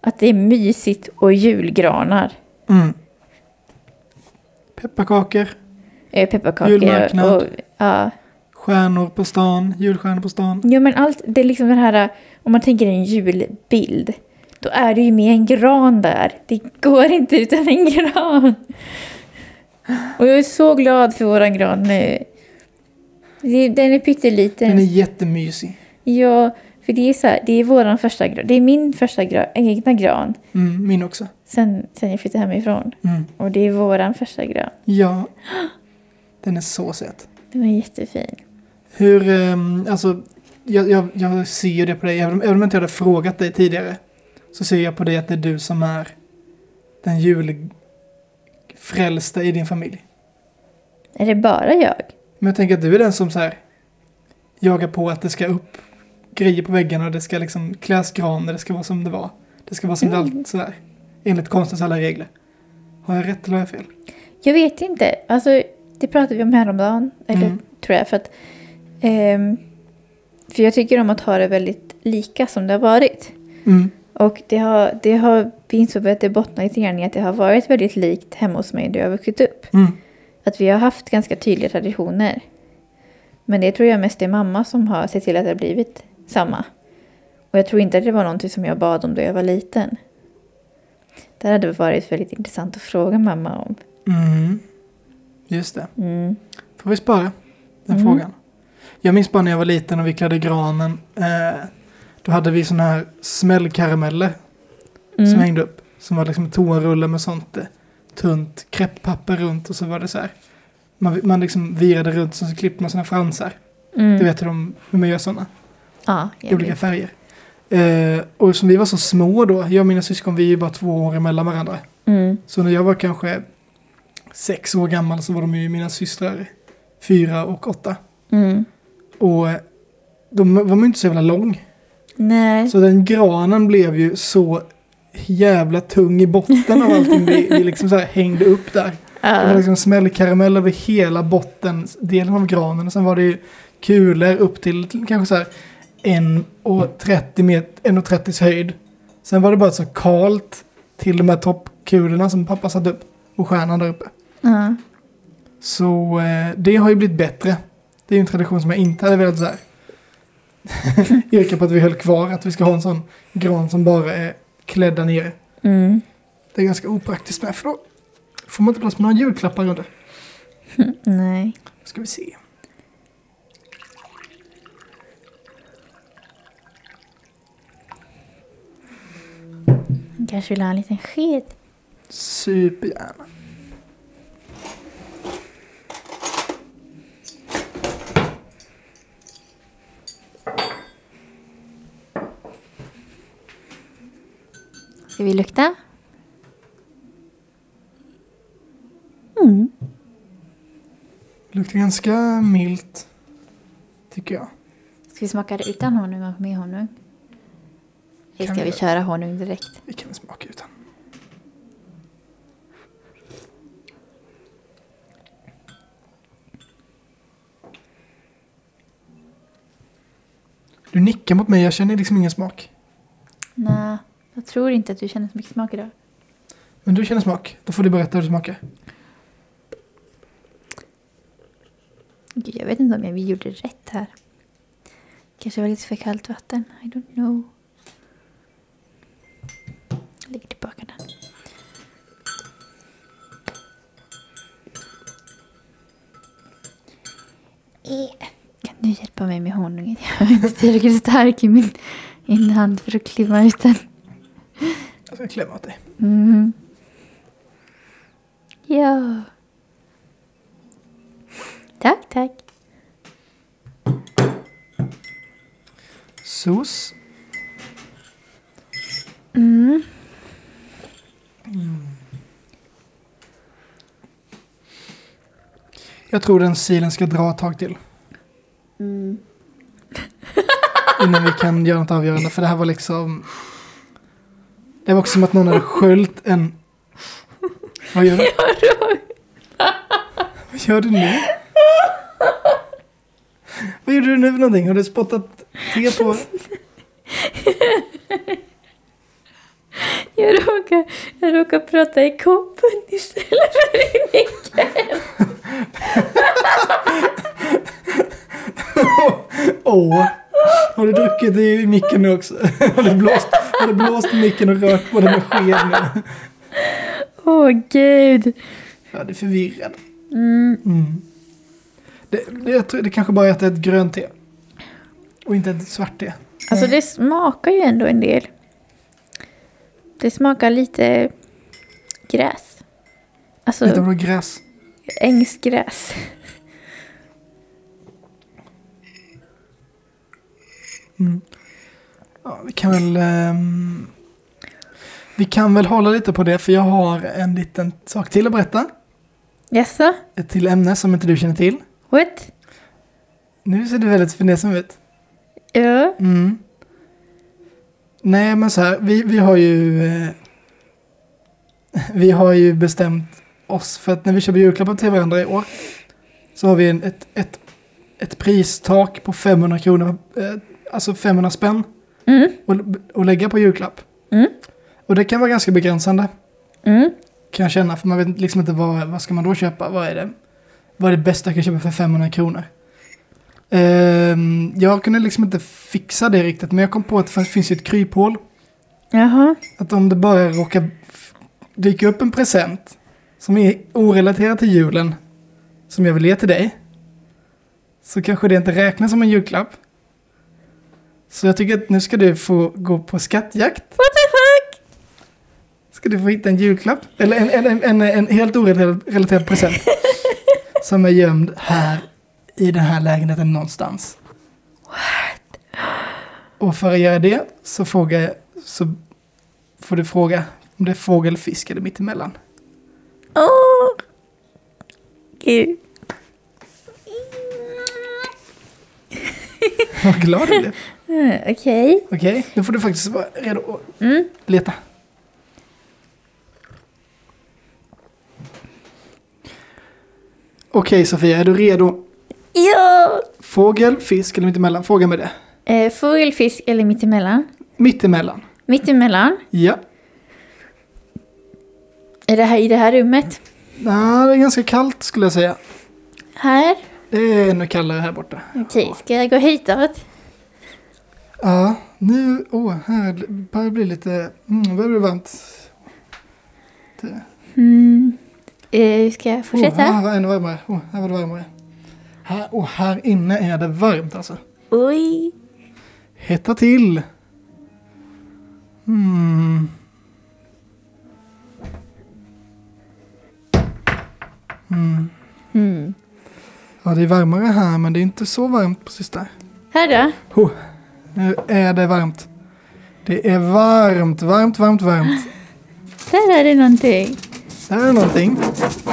S2: Att det är mysigt och julgranar.
S1: Mm. Pepparkakor,
S2: Eh, Pepparkakor och,
S1: Julmarknad.
S2: och ja.
S1: stjärnor på stan, julstjärnor på stan.
S2: ja, men allt, det är liksom den här, om man tänker en julbild. Då är det ju med en gran där. Det går inte utan en gran. Och jag är så glad för våran gran nu. Det- Den är pytteliten.
S1: Den är jättemysig.
S2: Ja, för det är så här, det är våran första gran. Det är min första gran, egna gran
S1: Mm, min också.
S2: sen, sen jag flyttade hemifrån.
S1: Mm.
S2: Och det är våran första gran.
S1: Ja. Den är så söt.
S2: Den var jättefin.
S1: Hur, ehm, alltså, jag, jag, jag ser ju det på dig, även om, även om jag inte hade frågat dig tidigare. Så ser jag på dig att det är du som är den julfrälsta i din familj.
S2: Är det bara jag?
S1: Men jag tänker att du är den som så här jagar på att det ska upp grejer på väggarna och det ska liksom kläs gran och det ska vara som det var. Det ska vara som det
S2: Mm.
S1: alltid sådär. Enligt konstens alla regler. Har jag rätt eller har jag fel?
S2: Jag vet inte. Alltså, det pratade vi om häromdagen, eller
S1: Mm.
S2: tror jag. För, att, ehm, för jag tycker om att ha det väldigt lika som det har varit.
S1: Mm.
S2: Och det har, det har, vi insåg att det bottnar lite grann i att det har varit väldigt likt hemma hos mig där jag har vuxit upp.
S1: Mm.
S2: Att vi har haft ganska tydliga traditioner. Men det tror jag mest är mamma som har sett till att det har blivit samma. Och jag tror inte att det var någonting som jag bad om då jag var liten. Det hade det varit väldigt intressant att fråga mamma om.
S1: Mm. Just det.
S2: Mm.
S1: Får vi spara den
S2: Mm.
S1: frågan? Jag minns bara när jag var liten och vi klädde granen. Eh, då hade vi sådana här smällkarameller
S2: Mm.
S1: som hängde upp. Som var liksom toarullar med sånt eh, tunt krepppapper runt och så var det så här. Man, man liksom virade runt så, så klippte man sina fransar.
S2: Mm.
S1: Du vet hur, de, hur man gör sådana.
S2: Ja,
S1: I
S2: jag
S1: olika
S2: vet.
S1: färger. Eh, och som vi var så små då, jag och mina syskon vi är ju bara två år emellan varandra.
S2: Mm.
S1: Så när jag var kanske sex år gammal så var de ju mina systrar fyra och åtta.
S2: Mm.
S1: Och eh, de var man ju inte så jävla lång.
S2: Nej.
S1: Så den granen blev ju så jävla tung i botten av allting vi, vi liksom så här hängde upp där. Det var
S2: Ja.
S1: liksom smällkaramell över hela bottendelen av granen. Och sen var det ju kulor upp till till kanske så här 1,30 met- 1,30 höjd. Sen var det bara så kalt till de här toppkulorna som pappa satte upp. Och stjärnan där uppe.
S2: Ja.
S1: Så eh, det har ju blivit bättre. Det är ju en tradition som jag inte hade velat så här. Yrka på att vi höll kvar. Att vi ska ha en sån gran som bara är klädda ner.
S2: Mm.
S1: Det är ganska opraktiskt med. För då får man inte plats med några julklappar under.
S2: Nej.
S1: Ska vi se.
S2: Han kanske vill ha en liten sked.
S1: Supergärna.
S2: Ska vi lukta?
S1: Luktar ganska milt. Tycker jag.
S2: Ska vi smaka det utan honung och med honung? Eller
S1: Kan
S2: ska
S1: vi
S2: vi
S1: göra.
S2: köra honung direkt?
S1: Vi kan väl smaka utan. Du nickar mot mig, jag känner liksom ingen smak.
S2: Nej, jag tror inte att du känner så mycket smak idag.
S1: Men du känner smak, då får du berätta hur det smakar.
S2: Gud, jag vet inte om jag vi gjorde rätt här. Kanske var lite för kallt vatten. I don't know. Jag lägger tillbaka den. Eh, Kan du hjälpa mig med honungen? Jag är inte tillräckligt stark i min, i min hand för att klimma ut den.
S1: Jag ska klämma åt dig.
S2: Mm. Ja. Tack, tack.
S1: Sås.
S2: Mm.
S1: Jag tror den silen ska dra ett tag till.
S2: Mm.
S1: Innan vi kan göra något avgörande. För det här var liksom... Det var också som att någon hade sköljt en... Vad gör du? Vad gör du nu? Vad gjorde du nu för någonting? Har du spottat te på...
S2: Jag råkar, jag råkar prata i koppen istället för i micken.
S1: Åh! Har du druckit i micken nu också? Har du blåst, har du blåst i micken och rört på den med sked nu?
S2: Åh gud.
S1: Ja, det är förvirrad.
S2: Mm.
S1: Mm. Det, det, jag tror, det kanske bara är att det är ett grönt te. Och inte ett svart te.
S2: Alltså det smakar ju ändå en del. Det smakar lite gräs. Alltså
S1: Lite blå gräs.
S2: ängsgräs.
S1: Mm. Ja, vi kan väl... ehm, vi kan väl hålla lite på det för jag har en liten sak till att berätta.
S2: Jaså?
S1: Ett till ämne som inte du känner till.
S2: What?
S1: Nu ser du väldigt fundersam ut.
S2: Ja.
S1: Mm. Nej men så här, vi, vi har ju... Eh, vi har ju bestämt oss för att när vi köper julklappar till varandra i år så har vi en, ett, ett, ett pristak på 500 kronor, eh, alltså 500 spänn
S2: Mm,
S1: att- att lägga på julklapp.
S2: Mm.
S1: Och det kan vara ganska begränsande
S2: mm,
S1: kan jag känna, för man vet liksom inte vad, vad ska man då köpa, vad är det, vad är det bästa jag kan köpa för 500 kronor? Ehm, jag kunde liksom inte fixa det riktigt, men jag kom på att det finns ju ett kryphål.
S2: jaha.
S1: Att om det bara råkar f- dyka upp en present som är orelaterad till julen, som jag vill ge till dig, så kanske det inte räknas som en julklapp. Så jag tycker att nu ska du få gå på skattjakt. What the fuck? Ska du få hitta en julklapp, eller en, en, en, en, en helt orelaterad relaterad present, som är gömd här i den här lägenheten någonstans. What? Och för att göra det så frågar jag, så får du fråga om det är fågel, fisk eller mittemellan.
S2: Åh! Gud.
S1: Vad glad du blev.
S2: Mm, Okej.
S1: Okej, nu får du faktiskt vara redo att
S2: Mm.
S1: leta. Okej Sofia, är du redo?
S2: Ja!
S1: Fågel, fisk eller mittemellan? Fråga med det.
S2: Eh, fågel, fisk eller mittemellan?
S1: Mittemellan.
S2: Mittemellan.
S1: Ja.
S2: Är det här i det här rummet?
S1: Nej, Ah, det är ganska kallt skulle jag säga.
S2: Här?
S1: Det är ännu kallare här borta.
S2: Okej, ska jag gå hitåt?
S1: Ja, nu... Åh, här börjar det bli lite... Mm, börjar det bli varmt. Det,
S2: Mm. Eh, ska jag fortsätta?
S1: Åh, här var det ännu varmare. Åh, här var det varmare. Här, åh, här inne är det varmt alltså.
S2: Oj!
S1: Hetta till. Hmm. Mm.
S2: Mm.
S1: Ja, det är varmare här, men det är inte så varmt precis där.
S2: Här då?
S1: Oh, nu är det varmt. Det är varmt, varmt, varmt, varmt.
S2: Där är det någonting.
S1: Där är någonting.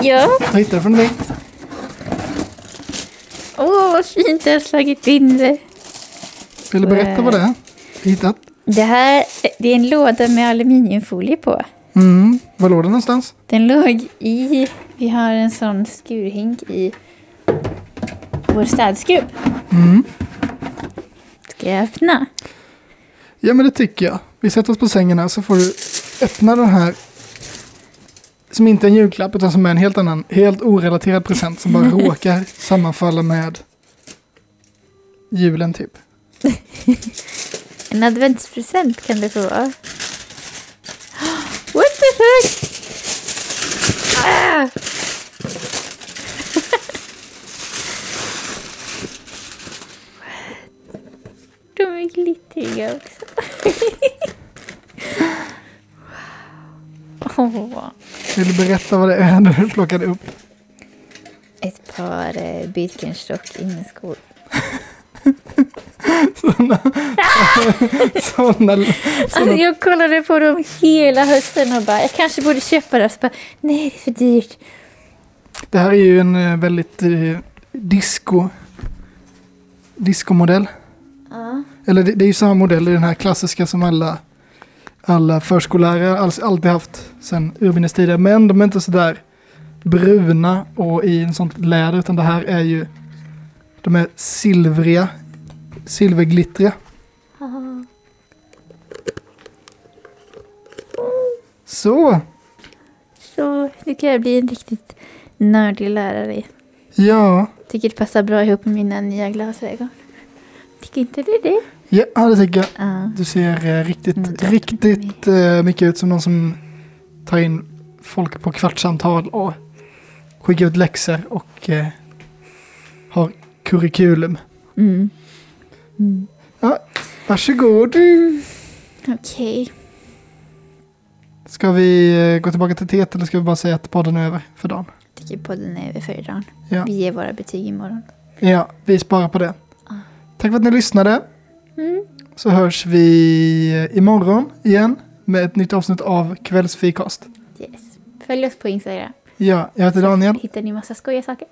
S2: Ja.
S1: Vad hittar du för någonting?
S2: Åh, vad fint jag har slagit in det.
S1: Vill du berätta vad det är? Du hittat?
S2: Det här eh, det är en låda med aluminiumfolie på.
S1: Mm. Var låg den någonstans?
S2: Den låg i... Vi har en sån skurhink i vår städskrubb.
S1: Mm.
S2: Ska jag öppna?
S1: Ja men det tycker jag. Vi sätter oss på sängen här så får du öppna den här. Som inte är en julklapp utan som är en helt annan, helt orelaterad present som bara råkar sammanfalla med julen typ.
S2: En adventspresent kan det få vara. What the fuck? Ah! De är glittriga också. Åh,
S1: Vill du berätta vad det är när du plockade upp?
S2: ett par eh, Birkenstock inneskor.
S1: Sådana, sådana,
S2: Alltså, jag kollade på dem hela hösten och bara, jag kanske borde köpa det. Så bara, nej det är för dyrt.
S1: det här är ju en eh, väldigt eh, disco, discomodell.
S2: Ja.
S1: Eller det, det är ju samma modell, det är den här klassiska som alla, alla förskollärare alls, alltid haft sedan urminnes tider. Men de är inte sådär bruna och i en sånt läder, utan det här är ju, de är silvriga, silverglittriga. Så,
S2: Så nu kan jag bli en riktigt nördig lärare.
S1: ja,
S2: Tycker det passar bra ihop med mina nya glasögon. Tycker inte du det?
S1: ja det tycker jag.
S2: Ja.
S1: Du ser eh, riktigt,
S2: Mm, tack.
S1: riktigt eh, mycket ut som någon som tar in folk på kvartssamtal och skickar ut läxor och eh, har kurikulum.
S2: Mm. Mm.
S1: Varsågod.
S2: Okej.
S1: Ska vi eh, gå tillbaka till teet eller ska vi bara säga att podden är över för dagen?
S2: Tycker podden är över för idag.
S1: Ja.
S2: Vi ger våra betyg imorgon.
S1: Ja, vi sparar på det. Tack för att ni lyssnade.
S2: Mm.
S1: Så hörs vi eh, imorgon igen med ett nytt avsnitt av Kvällsfikast.
S2: Yes. Följ oss på Instagram.
S1: Ja, jag heter Daniel.
S2: Hittar ni massa skojiga saker.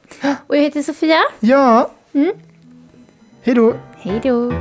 S2: Och jag heter Sofia.
S1: Ja.
S2: Mm.
S1: Hej då.
S2: Hej då.